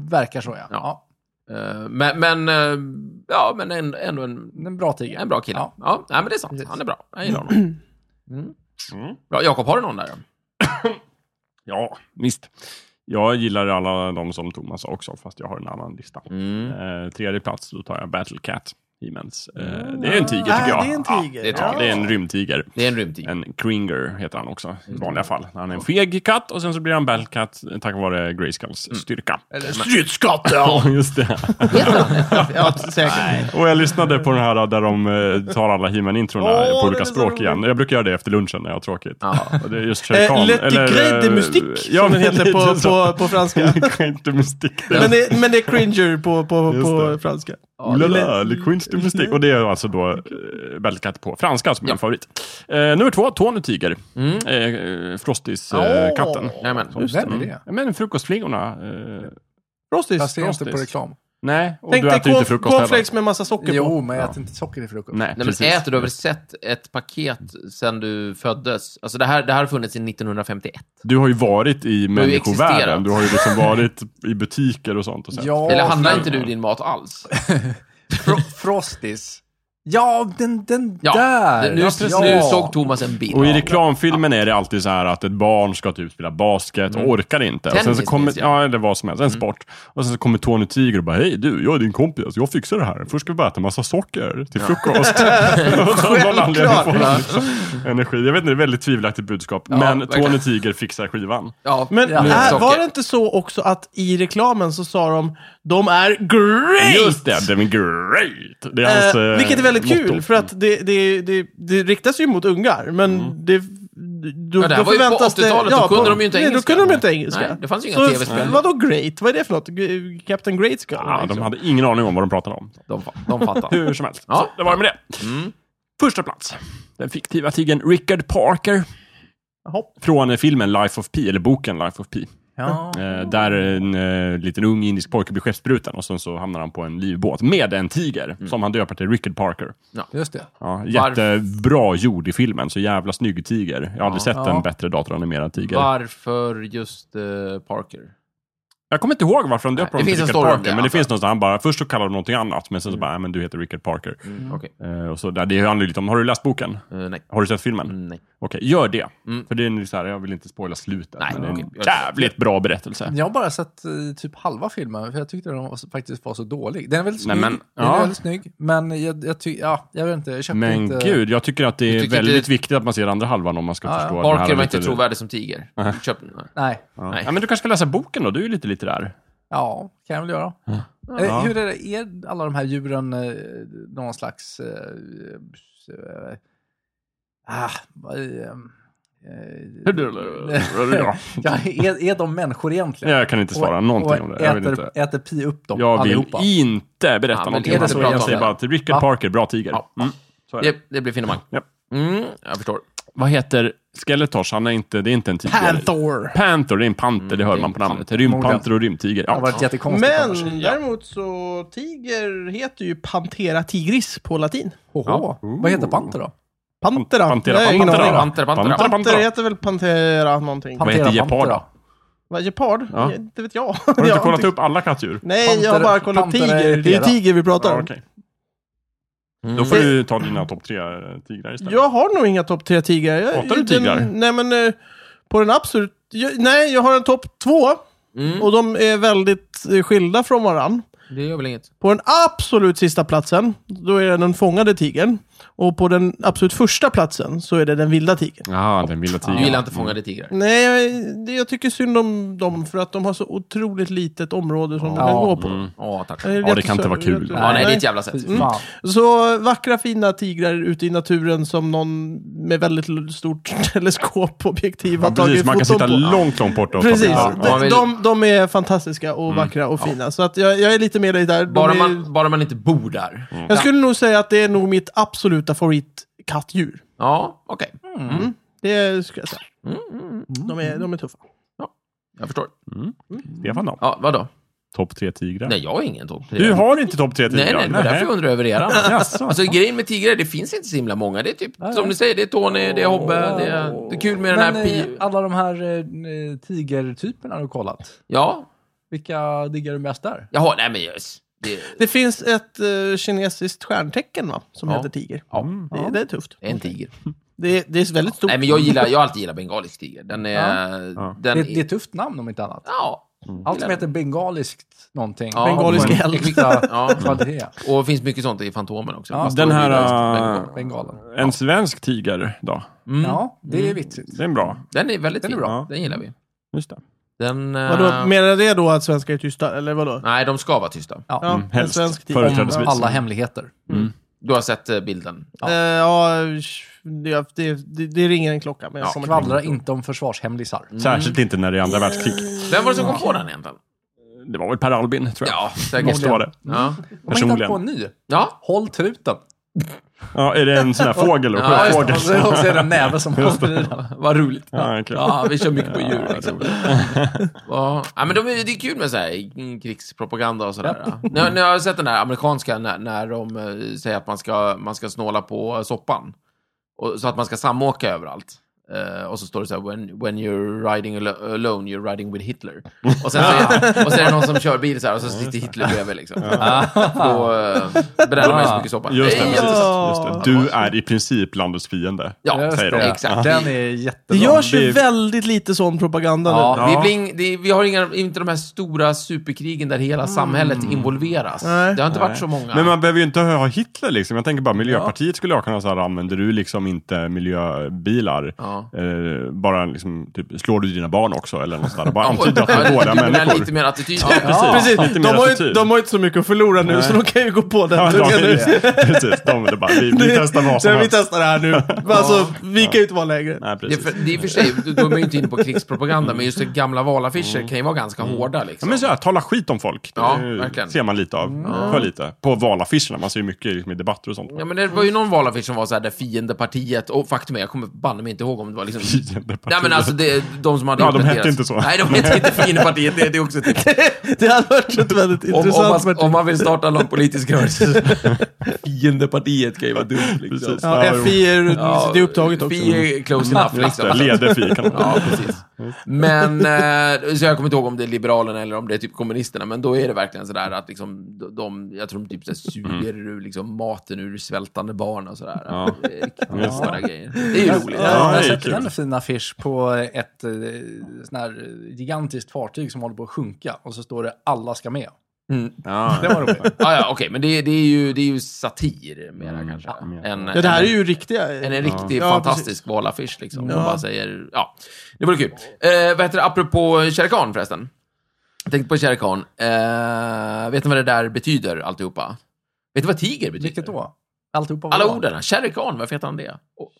Verkar så ja. ja.
Ja. Eh, Men, men, eh, ja, men en- ändå en,
En bra tiger.
en bra kille.
Ja.
Ja. nej, men det är sant. Han är bra. Jag gillar honom. Mm.
Mm.
Bra. Jakob, har du någon där? då?
Ja, visst. Jag gillar alla de som Thomas sa också, fast jag har en annan lista. Eh, tredje plats, då tar jag Battle Cat. Hemens. Eh, det är en tiger tycker jag.
Ah, det är en tiger.
det är ett
Ja,
tag.
det är en rymdtiger.
Det är en rymdtiger.
En Kringer heter han också i vanliga fall. Han är en feg katt och sen så blir han Battle Cat eh, tack vare Grayskulls styrka.
Stridsskatt,
Ja, just det.
ja. Säkert.
Och jag lyssnade på den här där de eh, tar alla he introna
Åh,
på
den är
olika
så
språk
rolig.
igen. Jag brukar göra det efter lunchen när jag har tråkigt.
Ja.
Och det är just Shere
Eh,
Khan.
Lette Grey de
eh,
Mystique,
ja,
som den
men
heter
lite
på,
så.
på, på franska.
Inte mystik.
men, det, men det är Cringer på, på,
Just
på
det.
franska. Mm.
Oulala, Le Queens du mystik. Och det är alltså då eh, Battlecat på franska som är min favorit. Eh, nummer två, Tony Tiger. Eh,
Åh.
Frostis-katten.
Nej, men.
Vem är det?
men frukostflingorna. Eh,
Jag
Frosties.
ser inte på
Frosties.
reklam.
nej, och
Tänk
du
dig
äter ju inte
corn-
frukost heller.
cornflakes med massa socker på.
Jo, men jag äter inte socker i frukost.
Nej,
Nej,
precis.
men äter du har väl sett ett paket sen du föddes? Alltså det här, det här har funnits sedan 1951.
Du har ju varit i
har ju
människovärlden.
existerat.
Du har ju liksom varit i butiker och sånt. Och sett.
Ja,
Eller handlar
men-
inte du din mat alls?
Fro- Frosties. Ja, den, den
Ja,
där!
nu,
ja,
nu såg Thomas en bild.
Och i reklamfilmen är det alltid så här att ett barn ska typ spela basket
Mm.
och orkar inte. och sen så
Tennis
kommer,
finns
liksom.
ju.
ja, eller vad som helst, en sport. Och sen så kommer Tony Tiger och bara, hej du, jag är din kompis, jag fixar det här. Först ska vi bara äta massa socker till frukost. Och av någon anledning får han liksom Energi. Jag vet inte, det är ett väldigt tvivelaktigt budskap. men
verkligen.
Tony Tiger fixar skivan.
Ja,
Men
ja,
är,
socker.
var det inte så också att i reklamen så sa de de är great!
Just det, det är great! Det är hans,
Eh,
eh,
vilket är väldigt
motto.
kul, för att det, det, det, det riktas ju mot ungar, men
Mm.
det... Då,
Ja, det här var ju på 80-talet, då kunde de ju inte
nej,
engelska.
Då kunde de ju inte engelska.
Nej, det fanns ju inga
Så
TV-spel.
Vadå great? Vad är det för något? G- Captain Great ska liksom-
Ja, de hade ingen aning om vad de pratade om.
De, fa- de fattar.
Hur som helst.
Ja. Mm.
Så, det var det med det. Första plats. Den fiktiva tigern Richard Parker.
Jaha.
Från eh, filmen Life of Pi, eller boken Life of Pi.
Ja.
Eh, där en eh, liten ung indisk pojke blir skeppsbruten och sen så hamnar han på en livbåt med en tiger
Mm.
som han döper till Richard Parker.
Just det.
Ja, jättebra gjord i filmen, så jävla snygg tiger. Jag har aldrig sett
Ja.
en bättre datoranimerad tiger.
Varför just eh, Parker?
Jag kommer inte ihåg varför han döper
det
honom till
finns en
Richard
story om
Parker,
det, alltså.
men det
antar
finns någonstans, han bara, först så kallar de någonting annat, men sen så bara, nej men du heter Richard Parker.
Mm. Okej.
Eh, och så, där, det handlar ju lite om, har du läst boken?
Eh, nej.
Har du sett filmen?
Mm, nej.
Okej, gör det.
Mm.
För det är en så här, jag vill inte spoila slutet,
Nej,
men det är en
okej. Jag-
jävligt bra berättelse.
Jag har bara sett eh, typ halva filmen, för jag tyckte den var, så- faktiskt var så dålig. Den är väldigt
Nej,
snygg,
men-
den
ja.
är väldigt snygg men jag, jag tycker, ja, jag vet inte, jag köpte
Men
inte...
gud, jag tycker att det är
tycker
väldigt
det-
viktigt att man ser andra halvan om man ska
Ja, ja.
förstå. den här
Parker var
lite-
inte trovärdig som tiger. Köp den. här.
Nej,
Ja.
Nej.
ja, men du kanske ska läsa boken då? Du är ju lite litterär.
ja, kan jag väl göra. Eh,
Mm. Ja.
Hur är, det, är alla de här djuren eh, någon slags... Eh, eh, ah, vad är, eh, eh,
Ja.
ja, är, är de människor egentligen?
Jag kan inte svara
Och-
någonting
och
om det. Jag vill
äter,
inte.
äter Pi upp dem
Jag vill
allihopa?
inte berätta
Ja, men
någonting
är
om
det
hans
så
film. Jag
bra
säger
om det?
bara till Richard
Ja.
Parker, bra tiger.
Ja.
Mm, så är det.
Det, det blir finemang.
Ja.
Mm, jag förstår.
Vad heter Skeletors? Han är inte, det är inte en tiger.
Panther!
Panther, det är
Mm,
en panter, det hör man på namnet. Rymdpanter och rymdtiger.
Det har
Ja.
varit jättekonstigt annars.
Men däremot så, tiger heter ju Pantera tigris på latin.
Hoho.
Ja.
Vad heter panter då?
Pantera.
Pantera,
Jag har ingen
Pantera.
aning.
Pantera, Pantera.
Pantera.
Panter heter väl Pantera någonting?
Vad heter
Pantera,
gepard
pantera.
Vad, Gepard?
Ja.
Det vet jag.
Har du inte kollat upp alla kattdjur?
Nej, jag
Panter-
har bara kollat upp
panter är
tiger. Det är
irriterad.
tiger vi pratar om.
Ja, okej. Då får du ta dina topp tre eh, tigrar istället.
Jag har nog inga topp tre tigrar. Jag,
Hatar du tigrar?
Den, nej, men eh, på den absolut... Jag, nej, jag har en topp två.
Mm.
Och de är väldigt eh, skilda från varann.
Det gör väl inget.
På den absolut sista platsen, då är det den fångade tigern. Och på den absolut första platsen så är det den vilda tigern.
Ja, den vilda
Du
tigern.
gillar inte fångade tigrar.
Nej, jag, det- jag tycker synd om dem för att de har så otroligt litet område som de kan
Ja.
gå på. Eh,
Ja, tack.
Jag är
Mm. Ja, det kan inte vara kul.
jättesö-
Ja, nej, det är ett jävla sätt.
Mm.
Fy fan.
Så vackra fina tigrar ute i naturen som någon med väldigt l- stort teleskopobjektiv har
Ja, precis,
tagit
man kan
foton
sitta
på.
långt, långt borta och Mm. ta
Precis,
bilder.
Ja, man
de,
vill-
de, de är fantastiska och vackra och fina. Så att jag, jag är lite med dig där. De
Bara
är,
man, bara man inte bor där.
jag skulle nog säga att det är nog mitt absoluta favoritkattdjur.
Ja, okej.
Det skulle jag säga.
Mm,
De, är, de är tuffa.
Jag förstår.
Stefan då?
Ja, vadå?
Topp tre tigrar?
Nej, jag har ingen topp tre.
Du har inte topp tre tigrar?
Nej, nej, det var därför jag undrade över era.
Jaså.
Alltså grejen med tigrar, det finns inte så himla många. Det är typ, som ni säger, det är Tony, det är Hobbe, det är, det är kul med den
Men
här
eh,
pi...
alla de här eh, tigertyperna har du kollat?
Ja,
Vilka diggar du mest där?
jaha, nej men yes. Det
Det finns ett eh, kinesiskt stjärntecken va? som
Ja.
heter tiger.
Ja.
Mm, Det, det är tufft.
är en tiger.
Det, det är väldigt stort.
Nej, men jag gillar, jag har alltid gillat bengalisk tiger. Den är...
Ja.
Den
Det,
är,
det är ett tufft namn om inte annat.
Ja.
Allt som heter bengaliskt någonting.
Ja,
Bengalisk
har en
eld.
äkta
Ja.
Kvalitet.
Och det finns mycket sånt i Fantomen också.
Ja.
Den här...
Bengal.
äh,
Bengalen.
Mm.
en svensk tiger då?
Ja, det är vitsigt.
Det är en bra.
Den är väldigt
Den är
fin.
bra.
Den gillar vi.
Just det.
Den... eh,
Vadå, menar det då att svenskar är tysta, eller vadå?
Nej, de ska vara tysta.
Ja.
Ja,
Mm,
en
helst.
svensk tiger.
Företrädesvis.
Alla hemligheter.
Du har sett eh, bilden.
Ja, Eh, ja det, det, det, det ringer en klocka. Men jag
Ja,
kommer inte
Skvallra
ihåg.
inte om försvarshemlisar.
Särskilt inte när det är andra världskrig.
Vem var det som kom på den egentligen?
Det var väl Per Albin, tror jag.
Ja, säkert.
Måste vara det.
Ja.
De har hittat
Personligen.
på en ny.
ja.
Håll truten.
Ja, är det en sån här fågel? då?
Ja, just
Sjöfågel?
Och så och så är det en näve som håller i den.
Vad roligt.
Ja, okej.
Ja, vi kör mycket på djur. Liksom. Ja, ja, men de, är- det är kul med så här, mm, krigspropaganda och sådär. Ja. Nu, nu har jag sett den här amerikanska när, när de eh, säger att man ska, man ska snåla på eh, soppan. Och, så att man ska samåka överallt. Eh, och så står det så här, when, when you're riding alo- alone, you're riding with Hitler. Och sen, så, och sen är det någon som kör bil så här, och så sitter Hitler bredvid liksom. Då eh, bränner man ju så mycket soppa.
Just det,
Nej,
precis.
jättesött.
Just det. Du är i princip landets fiende.
Ja,
Just
säger de.
det.
exakt.
Den är
Det
jättebra.
görs ju
det-
väldigt lite sån propaganda nu.
Ja,
Ja.
Vi, blir ing, det, vi har inga, inte de här stora superkrigen där hela samhället involveras.
Nej.
Det har inte
Mm. Nej.
varit så många.
Men man behöver ju inte ha Hitler liksom. Jag tänker bara Miljöpartiet skulle jag kunna säga, använder du liksom inte miljöbilar?
Ja.
Eh, bara liksom, typ, slår du dina barn också? Eller något sånt där. Bara
Ja,
antyda att det är
lite
dåliga
mer-
människor.
Lite mer attityd.
Ja, precis.
lite
De
mer
har, ju,
attityd.
de har ju inte så mycket att förlora nu, så de kan ju gå på den.
Ja, de,
tungan nu.
precis, de är bara, vi, vi
Det-
testar vad
så
som
Vi
helst.
testar det här nu. Men Alltså, vi kan ju inte vara lägre.
Nej,
Det är,
precis.
för, det är för sig, då är man ju inte inne på krigspropaganda, men just det gamla valaffischer kan ju vara ganska hårda
Mm. Ja,
liksom.
men så här, tala skit om folk. Det
Ja,
är ju-
verkligen. Mm.
ser man lite av. För lite. På valaffischerna, man ser ju mycket liksom, i debatter och sånt.
Ja, men det var ju någon valaffisch som var så här, där fiendepartiet, och faktum är, jag kommer banne mig inte ihåg om det var liksom... Nej men alltså, det, de som hade
Ja,
gjort
de
det
hette
deras-
inte så.
Nej, de hette inte fiendepartiet, det, det är också ett
Det hade varit ett väldigt
om, om,
intressant
man,
parti.
om man vill starta någon politisk rörelse, fiendepartiet kan ju vara dumt liksom.
Precis.
Ja, FI är,
Ja,
det är upptaget också.
Fi är close enough liksom.
Lede fi kan man
Ja, precis.
Mm.
Men, eh, så jag kommer inte ihåg om det är Liberalerna eller om det är typ kommunisterna, men då är det verkligen sådär att liksom, de- de, jag tror de typ såhär
Mhm.
suger ur liksom maten ur svältande barn och sådär.
Ja.
Det är riktigt
Just det.
bisarra grejer. Det är ju roligt.
Jag har
Ja, det är
sett
kul.
en fin affisch på ett eh, sån här eh, gigantiskt fartyg som håller på att sjunka och så står det alla ska med.
Mm.
Det var roligt.
Ah, ja, okej, men det, det, är ju, det är ju satir mera
Mm.
kanske.
Ja.
Än-
Ja, det här är
än-
ju riktiga...
än en riktig
Ja,
fantastisk valaffisch liksom.
Ja.
Och bara säger, ja, det vore kul. Eh, vad heter det, apropå Shere Khan förresten. Jag tänkte på Shere Khan. Eh, vet ni vad det där betyder, alltihopa? Vet ni vad tiger betyder?
Vilket då? Alltihopa var
Alla
bra.
orden. Shere Khan, varför heter han det? Och,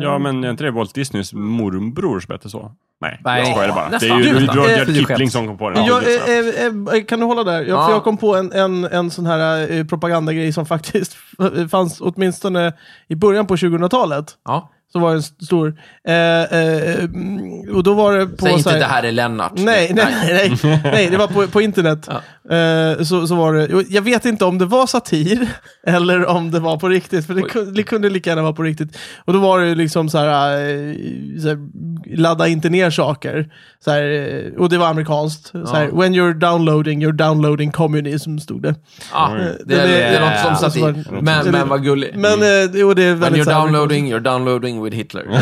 Ja, men är inte det Walt Disneys morbror som hette så? Nej,
Nej.
jag skojar bara. Det
Nästan.
är ju
Nästan.
Rudyard
Eh,
Kipling som kom på den.
Jag, eh, eh, eh, kan du hålla där? Jag,
Ja.
för jag kom på en, en, en sån här eh, propagandagrej som faktiskt fanns åtminstone i början på 2000-talet.
ja.
Så var det en st- stor... Eh, eh, mm, och då var det på...
Säg
så
inte
här,
det här är Lennart.
Nej, nej, nej, nej, nej, det var på, på internet. Eh, så, så var det, och jag vet inte om det var satir eller om det var på riktigt, för det kunde, det kunde lika gärna vara på riktigt. Och då var det ju liksom så här, eh, så här ladda inte ner saker. Så här, eh, och det var amerikanskt. Så här, When you're downloading, you're downloading communism, stod det.
Ah, det, det,
är-
det är något som
Ja.
satir. Men, men vad gulligt.
Men eh, och det är
Mm. When
väldigt...
you're
så här-
downloading, you're downloading with Hitler.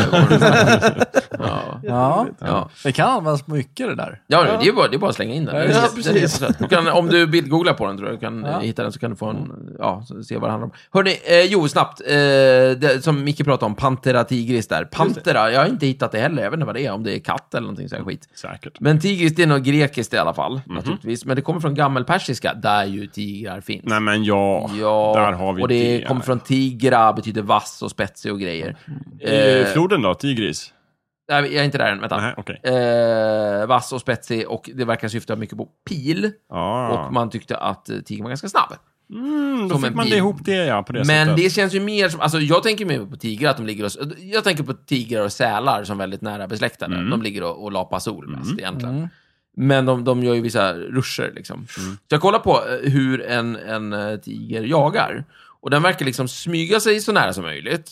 ja.
Ja.
Ja.
Det kan användas mycket det där.
Ja, det är ju bara, det är bara att slänga in den. Den är-
Ja,
den är
precis.
jättesöt. Du kan, om du bildgooglar på den tror jag, du kan eh,
Ja.
hitta den så kan du få en, ja, så se vad det handlar om. Hörni, eh, jo, snabbt. Eh, det, som Micke pratade om, Pantera tigris där. Pantera, jag har inte hittat det heller. Jag vet inte vad det är, om det är katt eller någonting sån här skit.
Säkert.
Men tigris, det är något grekiskt i alla fall,
Mhm.
naturligtvis. Men det kommer från gammelpersiska, där ju tigrar finns.
Nej, men ja.
Ja,
Där har vi
och det
det.
kommer från tigra, betyder vass och spetsig och grejer.
Eh,
Eh,
Floden då? Tigris?
nej, jag är inte där än, vänta.
Nej, okej.
Eh, vass och spetsig och det verkar syfta mycket på pil.
Ja.
Och man tyckte att eh, tigern var ganska snabb.
Mm, då
som
fick
en
man det
bil.
ihop det, ja. På det
Men
sättet.
det känns ju mer som, alltså jag tänker mer på tigrar, att de ligger och, jag tänker på tigrar och sälar som väldigt nära besläktade.
Mm.
De ligger och, och lapar sol mest egentligen. Men de, de gör ju vissa ruscher liksom.
Mm.
Så jag kollar på eh, hur en, en eh, tiger jagar. Och den verkar liksom smyga sig så nära som möjligt.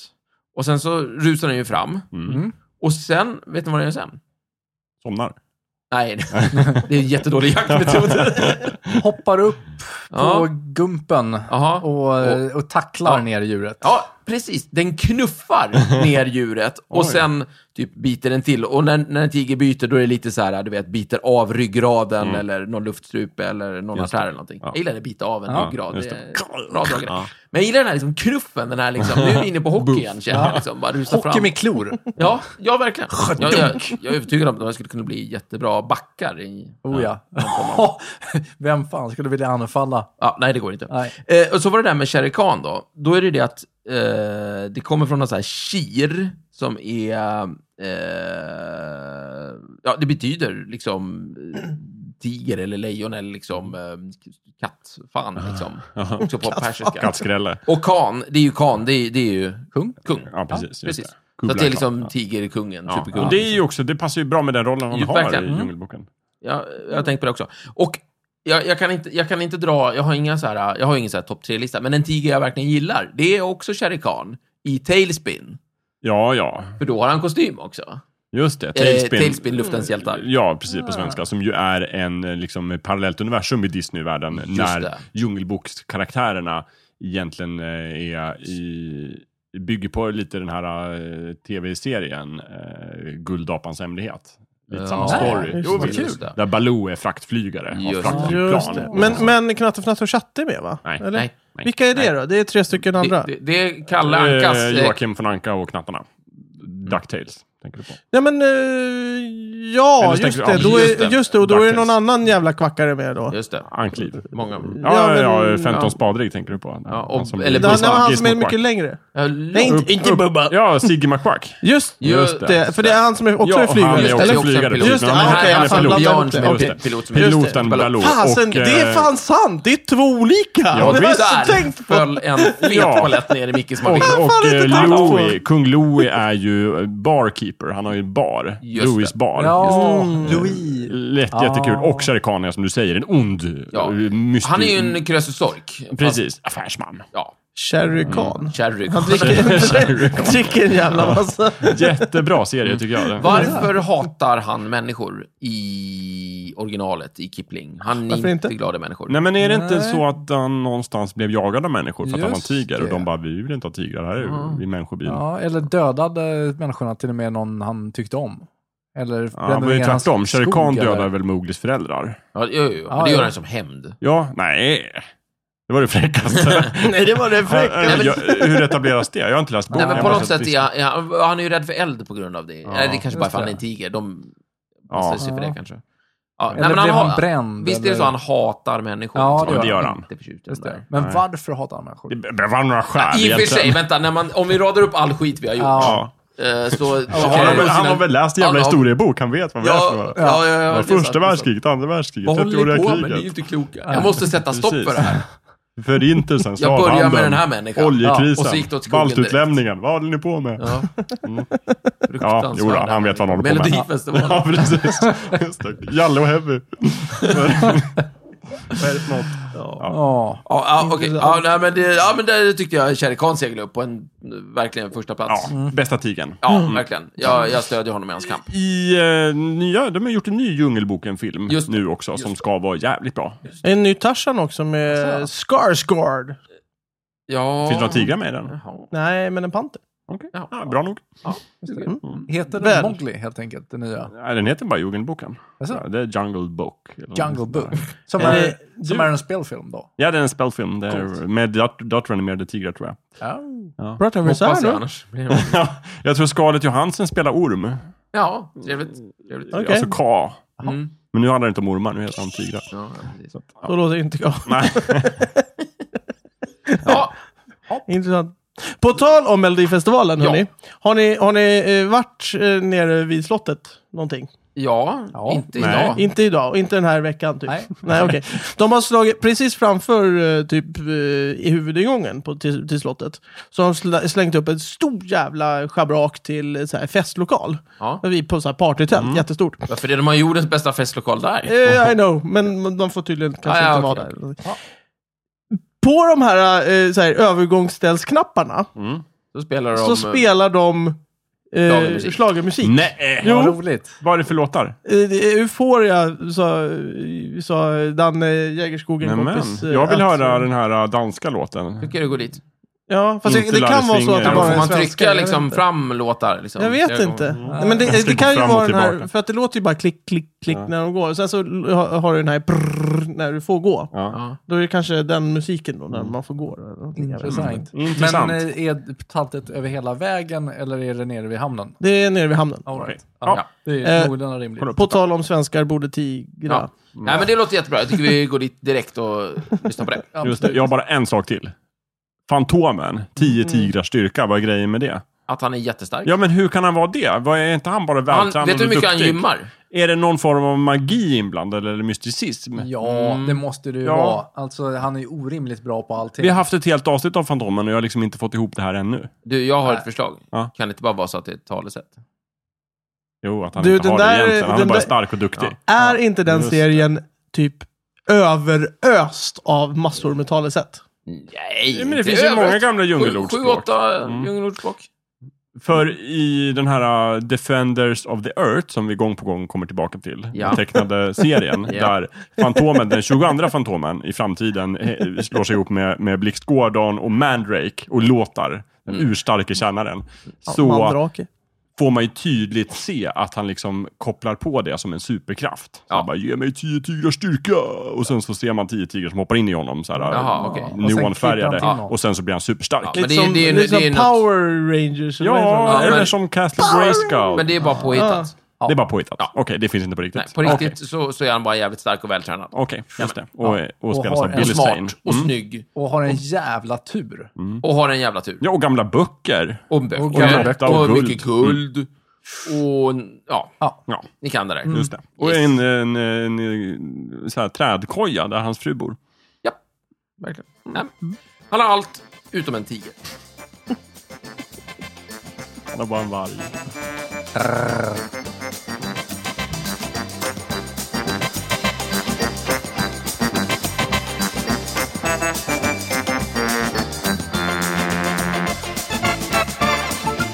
Och sen så rusar den ju fram.
Mm.
Och sen, vet ni vad den gör sen?
Somnar.
Nej, det är en jättedålig jaktmetod.
Hoppar upp på
Ja.
gumpen
Jaha.
och, och tacklar
Ja.
ner djuret.
Ja, precis. Den knuffar ner djuret och
Oj.
sen typ biter den till. Och när, när en tiger byter, då är det lite så här, du vet, biter av ryggraden eller någon luftstrupe eller någon artär eller någonting.
Ja.
Jag gillar det, bita av en
Ja,
ryggrad.
just
Det
det.
är bra drag i det.
Ja.
Men jag gillar den här liksom, knuffen, den här liksom, nu är vi inne på hockey igen, känner jag. Liksom, bara rusa
Hockey
fram.
med klor.
Ja, ja, verkligen. Jag, jag, jag är övertygad om att de skulle kunna bli jättebra backar i...
Oh ja. Vem fan skulle vilja anfalla?
Ja, nej, det går inte.
Nej.
Eh, och så var det där med Shere Khan då. Då är det det att eh, det kommer från någon sån här kir som är... Eh, ja, det betyder liksom eh, tiger eller lejon eller liksom eh, kattfan
Ah,
liksom. Också på persiska.
Kattskrälle.
Och kan, det är ju kan, det är, det är ju kung. kung.
Ja, precis. just
Precis.
det.
Så att det
Kublai
är
Khan.
liksom tigerkungen,
Ja.
superkungen.
Och det är ju också, det passar ju bra med den rollen han
Jo,
har i
verkligen. Mm.
Djungelboken.
Jag, jag
Mm.
har tänkt på det också. Och jag, jag, kan inte, jag kan inte dra, jag har inga så här, jag har ingen så här topp tre-lista, men en tiger jag verkligen gillar, det är också Shere Khan i Tailspin.
Ja, ja.
För då har han kostym också.
Just det.
Tailspin, eh,
Tailspin. Eh,
Tailspin Luftens hjältar.
Ja, precis
Ah.
på svenska. Som ju är en eh, liksom, parallellt universum i Disney-världen.
Just det.
När Djungelbokskaraktärerna egentligen eh, är i, bygger på lite den här eh, tv-serien eh, Guldapans hemlighet. Lite
Ja.
samma
Nej,
story.
just
Jo,
det.
men-
Just det.
Där Baloo är fraktflygare.
Just
Har
Just
fraktflygplan.
det. Men, men Knattefnatt och Chatte är med va?
Nej.
Eller?
Nej.
Nej.
Vilka är det
Nej.
då? Det är tre stycken andra.
Det, det, det är Kalle Ankas...
Eh,
Eh, Mm.
Joakim von Anka och Knattarna. Ducktails, tänker du på.
Nej men, eh, ja
Eller så
just
tänker
det.
du-
Då
Just det.
är, just det, och då är det någon
Ducktails.
annan jävla kvackare med då.
just det.
Ankliv.
Många...
Ja,
Ja,
ja,
men-
ja, 15
ja.
spadrig tänker du på.
Ja, och-
Han som-
eller
Det är
Bubba.
han som är
Gizmo
mycket
Quack.
längre.
Ja,
Nej,
långt-
inte, inte
Upp-
Bubba.
Ja, Sigge McQuack.
Just,
Just
det.
det.
För det är han som är också
ja,
är flygare.
Han är
Just det,
också
också en
flygare.
pilot.
Just det,
Men
ah,
han,
okej,
han är
jag fattar.
pilot.
Ja,
Björn som är
Okej.
pi- pilot som är... Just det.
Piloten Baloo.
Fasen,
Och,
det är
eh,
fan sant! Det är två olika!
Ja,
det har jag
Där
inte tänkt på.
föll en fet
Ja.
palett ner i Mickes maskin.
Och,
fan,
och
det är
eh,
inte tanke på.
Louis, kung Louis är ju barkeeper. Han har ju en bar.
Just
Louis
det.
bar.
Ja,
Louis. Lätt, jättekul. Och Sharikania som du säger, en ond,
Ja.
eh, mystisk...
Han är ju en krösusork.
Precis, affärsman.
Ja,
Sherry
Mm.
Khan.
Cherry.
Han dricker, dricker en jävla massa.
Jättebra
Mm.
serie tycker jag.
Varför hatar han människor i originalet, i Kipling? Han är
Varför
inte,
inte?
glada människor.
Nej men är det inte
Nej.
så att han någonstans blev jagad av människor för att han var en
Just
tiger? Och
det.
de bara, vi vill inte ha tigrar här,
Ja.
vi är människobyn.
Ja, eller dödade människorna till och med någon han tyckte om. Eller
Ja, det var ju tvärtom. Shere Khan dödar väl Mowglis föräldrar?
Ja, jo, jo, jo. Men
Ja,
det
ja.
gör han som hämnd.
Ja, nej. Det var det fräckaste. eh,
Nej, det var det fräckt.
men-
jag, hur etableras det? Jag har inte läst boken.
Nej, men
Jag
på
har
något
alltså,
sett
sätt
vis-
är han, är han- han är ju rädd för eld på grund av det. Nej, det är kanske bara
just
för att han
det.
är en tiger. De
Ja.
passar sig för det
Ja.
kanske. Ja,
Eller blev han bränd?
Visst är det så
eller?
han hatar människor?
Ja,
liksom.
det
gör han.
Inte förtjust i
Just
dem där.
det. Men
Nej.
varför hatar han människor?
Det var några skäl
I och för sig,
egentligen.
vänta, när man, om vi radar upp all skit vi har gjort,
Ja.
Ja.
eh, så... så kan
Han, har
jag
väl,
sina-
han har väl läst jävla
Ja, ja.
historiebok, han vet vad vi är för
Ja, ja,
några.
ja, ja,
Det var
det är sant,
Första
det är sant.
världskriget, andra världskriget,
Vad håller ni på med? Ni är
30-åriga
ju
kriget.
inte kloka. Jag måste sätta stopp
Precis.
för det här.
Förintelsen,
Jag börjar med
slavhandeln,
den här människan. Ja, och så gick det
oljekrisen,
åt skogen direkt.
baltutlämningen. Vad håller ni på med?
Ja.
Mm.
Fruktansvärda.
jo då, han vet vad han håller på med.
Melodifestivalen.
Ja, precis. Just det. Jalle och Heavy. Vad är det för något?
Ja.
Ja, ja okej. Ja, nej, men det, ja, men det tyckte jag Shere Khan seglade upp på en verkligen första plats.
Ja, Mm.
Ja,
bästa tigern.
verkligen. Jag, jag stödjer honom i hans kamp.
I eh, nya, de har gjort en ny Djungelboken-film
Just det.
nu också, som ska vara jävligt bra.
En ny Tarzan också med Skarsgård.
Ja...
Finns det några tigrar med i den?
Jaha.
Nej, men en panter.
Okej,
Ja.
ja, bra nog.
Ja, just det.
Heter den
Väl.
Mowgli helt enkelt, den nya?
Nej, den heter bara Djungelboken.
Jaså?
Ja, det är Jungle Book. eller något
Jungle
sånt där.
Book. Som,
Eh,
är, som
du-
är en spelfilm då.
Ja, det är en spelfilm. Det är med dat- datoranimerade tigrar, tror jag.
Ja.
Pratar vi så
Hoppas
här
jag
nu?
annars. blir det-
Ja, jag tror Scarlett Johansson spelar orm.
Ja, trevligt. trevligt.
Okej.
Alltså K.
Mm.
Men nu handlar det inte om ormar, nu heter han tigrar.
Ja, ja, precis.
Då låter det inte jag.
Nej.
ja,
Intressant. På tal om Melodifestivalen,
Ja.
hörni. Har ni, har ni eh, varit eh, nere vid slottet någonting?
ja,
Ja.
inte
Nej.
idag.
Inte idag, inte den här veckan typ. Nej,
Nej.
okej. De har slagit precis framför eh, typ eh, i huvudingången på, till, till slottet. Så har de sla- slängt upp ett stort jävla schabrak till eh, så här, festlokal.
Ja. Mm.
Vi på så här partytält, jättestort.
Varför är det de har jordens bästa festlokal där?
Eh, I know, men de får tydligen kanske
Ah, ja,
inte vara
okej,
där. På de här, eh, så här övergångsställsknapparna
Mm.
Så spelar de...
så spelar de eh,
Schlagermusik.
schlagermusik.
Nej!
Jo.
Vad roligt.
Vad är det för låtar?
Eh, det är Euphoria sa, sa Dan eh, Jägerskog, en
Nämen,
kompis. eh,
jag vill
att-
höra den här äh, danska låten.
Tycker du går dit?
Ja, fast det,
Inte
det kan vara
Larry
så att
Swinger.
det
Kan
bara är
Får
en
man
svenska,
trycka
jag
liksom
inte.
fram låtar? Liksom,
Jag vet
flera
inte.
gånger?
Men det,
Jag
det
ska
kan
gå
ju
fram
vara
och
den här,
tillbaka.
för att det låter ju bara klick, klick, klick när de går. Sen så l- har har du den här prrrr när du får gå.
Ja.
Ja.
Då är det kanske den musiken då, när
Mm.
man får gå. eller någonting.
Intressant.
Intressant.
Men eh, är taltet över hela vägen eller är det nere vid hamnen?
Det är nere vid hamnen.
All
Okej.
right.
Ja.
Ja. Det är
Eh,
någorlunda rimligt.
På tal om svenskar borde tigra.
Ja. Nej, men det låter jättebra. Jag tycker vi går dit direkt och lyssnar på det.
Just det, jag har bara en sak till. Fantomen, 10 tigrars styrka, vad är grejen med det?
Att han är jättestark.
Ja, men hur kan han vara det? Vad Är inte han bara
han,
vältränad
vet du hur
och
mycket han
duktig?
gymmar?
Är det någon form av magi inblandad eller mysticism?
Ja, det måste det ju
Ja.
vara. Alltså, han är ju orimligt bra på allting.
Vi har haft ett helt avsnitt av Fantomen och jag har liksom inte fått ihop det här ännu.
Du, jag har ett
Nej.
förslag.
Ja.
Kan det inte bara vara så att det är ett talesätt?
Jo, att han
Du,
inte
den
har
där-
det egentligen. Han är
den
bara
där-
stark och duktig.
Är inte den serien typ överöst av massor med talesätt?
Nej,
Ja, men det
inte
finns ju
överallt.
många gamla
Sju,
djungelordspråk.
sju, åtta
Mm.
djungelordspråk.
För i den här uh, Defenders of the Earth, som vi gång på gång kommer tillbaka till,
Ja.
den tecknade serien,
Ja.
där Fantomen, den 22 Fantomen i framtiden eh, slår sig ihop med, med Blixt Gordon och Mandrake och låtar, den
Mm.
urstarke tjänaren. Så
Mandrake.
får man ju tydligt se att han liksom kopplar på det som en superkraft. Så
Ja.
han bara, ge mig tio tigrars styrka! Och sen så ser man tio tigrar som hoppar in i honom, så här,
Jaha, okej. Och sen
neonfärgade.
klipper han till
Och sen så blir han superstark.
Ja,
Ja,
men det är-
Lite som,
det är-
lite som
det är något-
Liksom- Power Rangers. eller vad heter de?
Ja,
eller
men-
som Castle Grayskull.
Men det är bara påhittat.
Det är bara påhittat. Okej, det finns inte på riktigt.
Nej, på riktigt så, så är han bara jävligt stark och vältränad.
Okej, just det. Och, och spelas
har
av
en
Billy
Och smart
Zane. Mm.
och snygg.
Och har en jävla tur.
Och har en jävla tur.
Ja, och gamla böcker.
Och böcker.
Och gamla
böcker.
Och,
Och guld.
mycket guld. Och ja,
Ja,
ni kan det där.
just det. Och
Yes.
en, en, en, en så här, trädkoja där hans fru bor.
Ja, verkligen.
Mm.
Nej. Han har allt utom en tiger.
Han har bara en varg.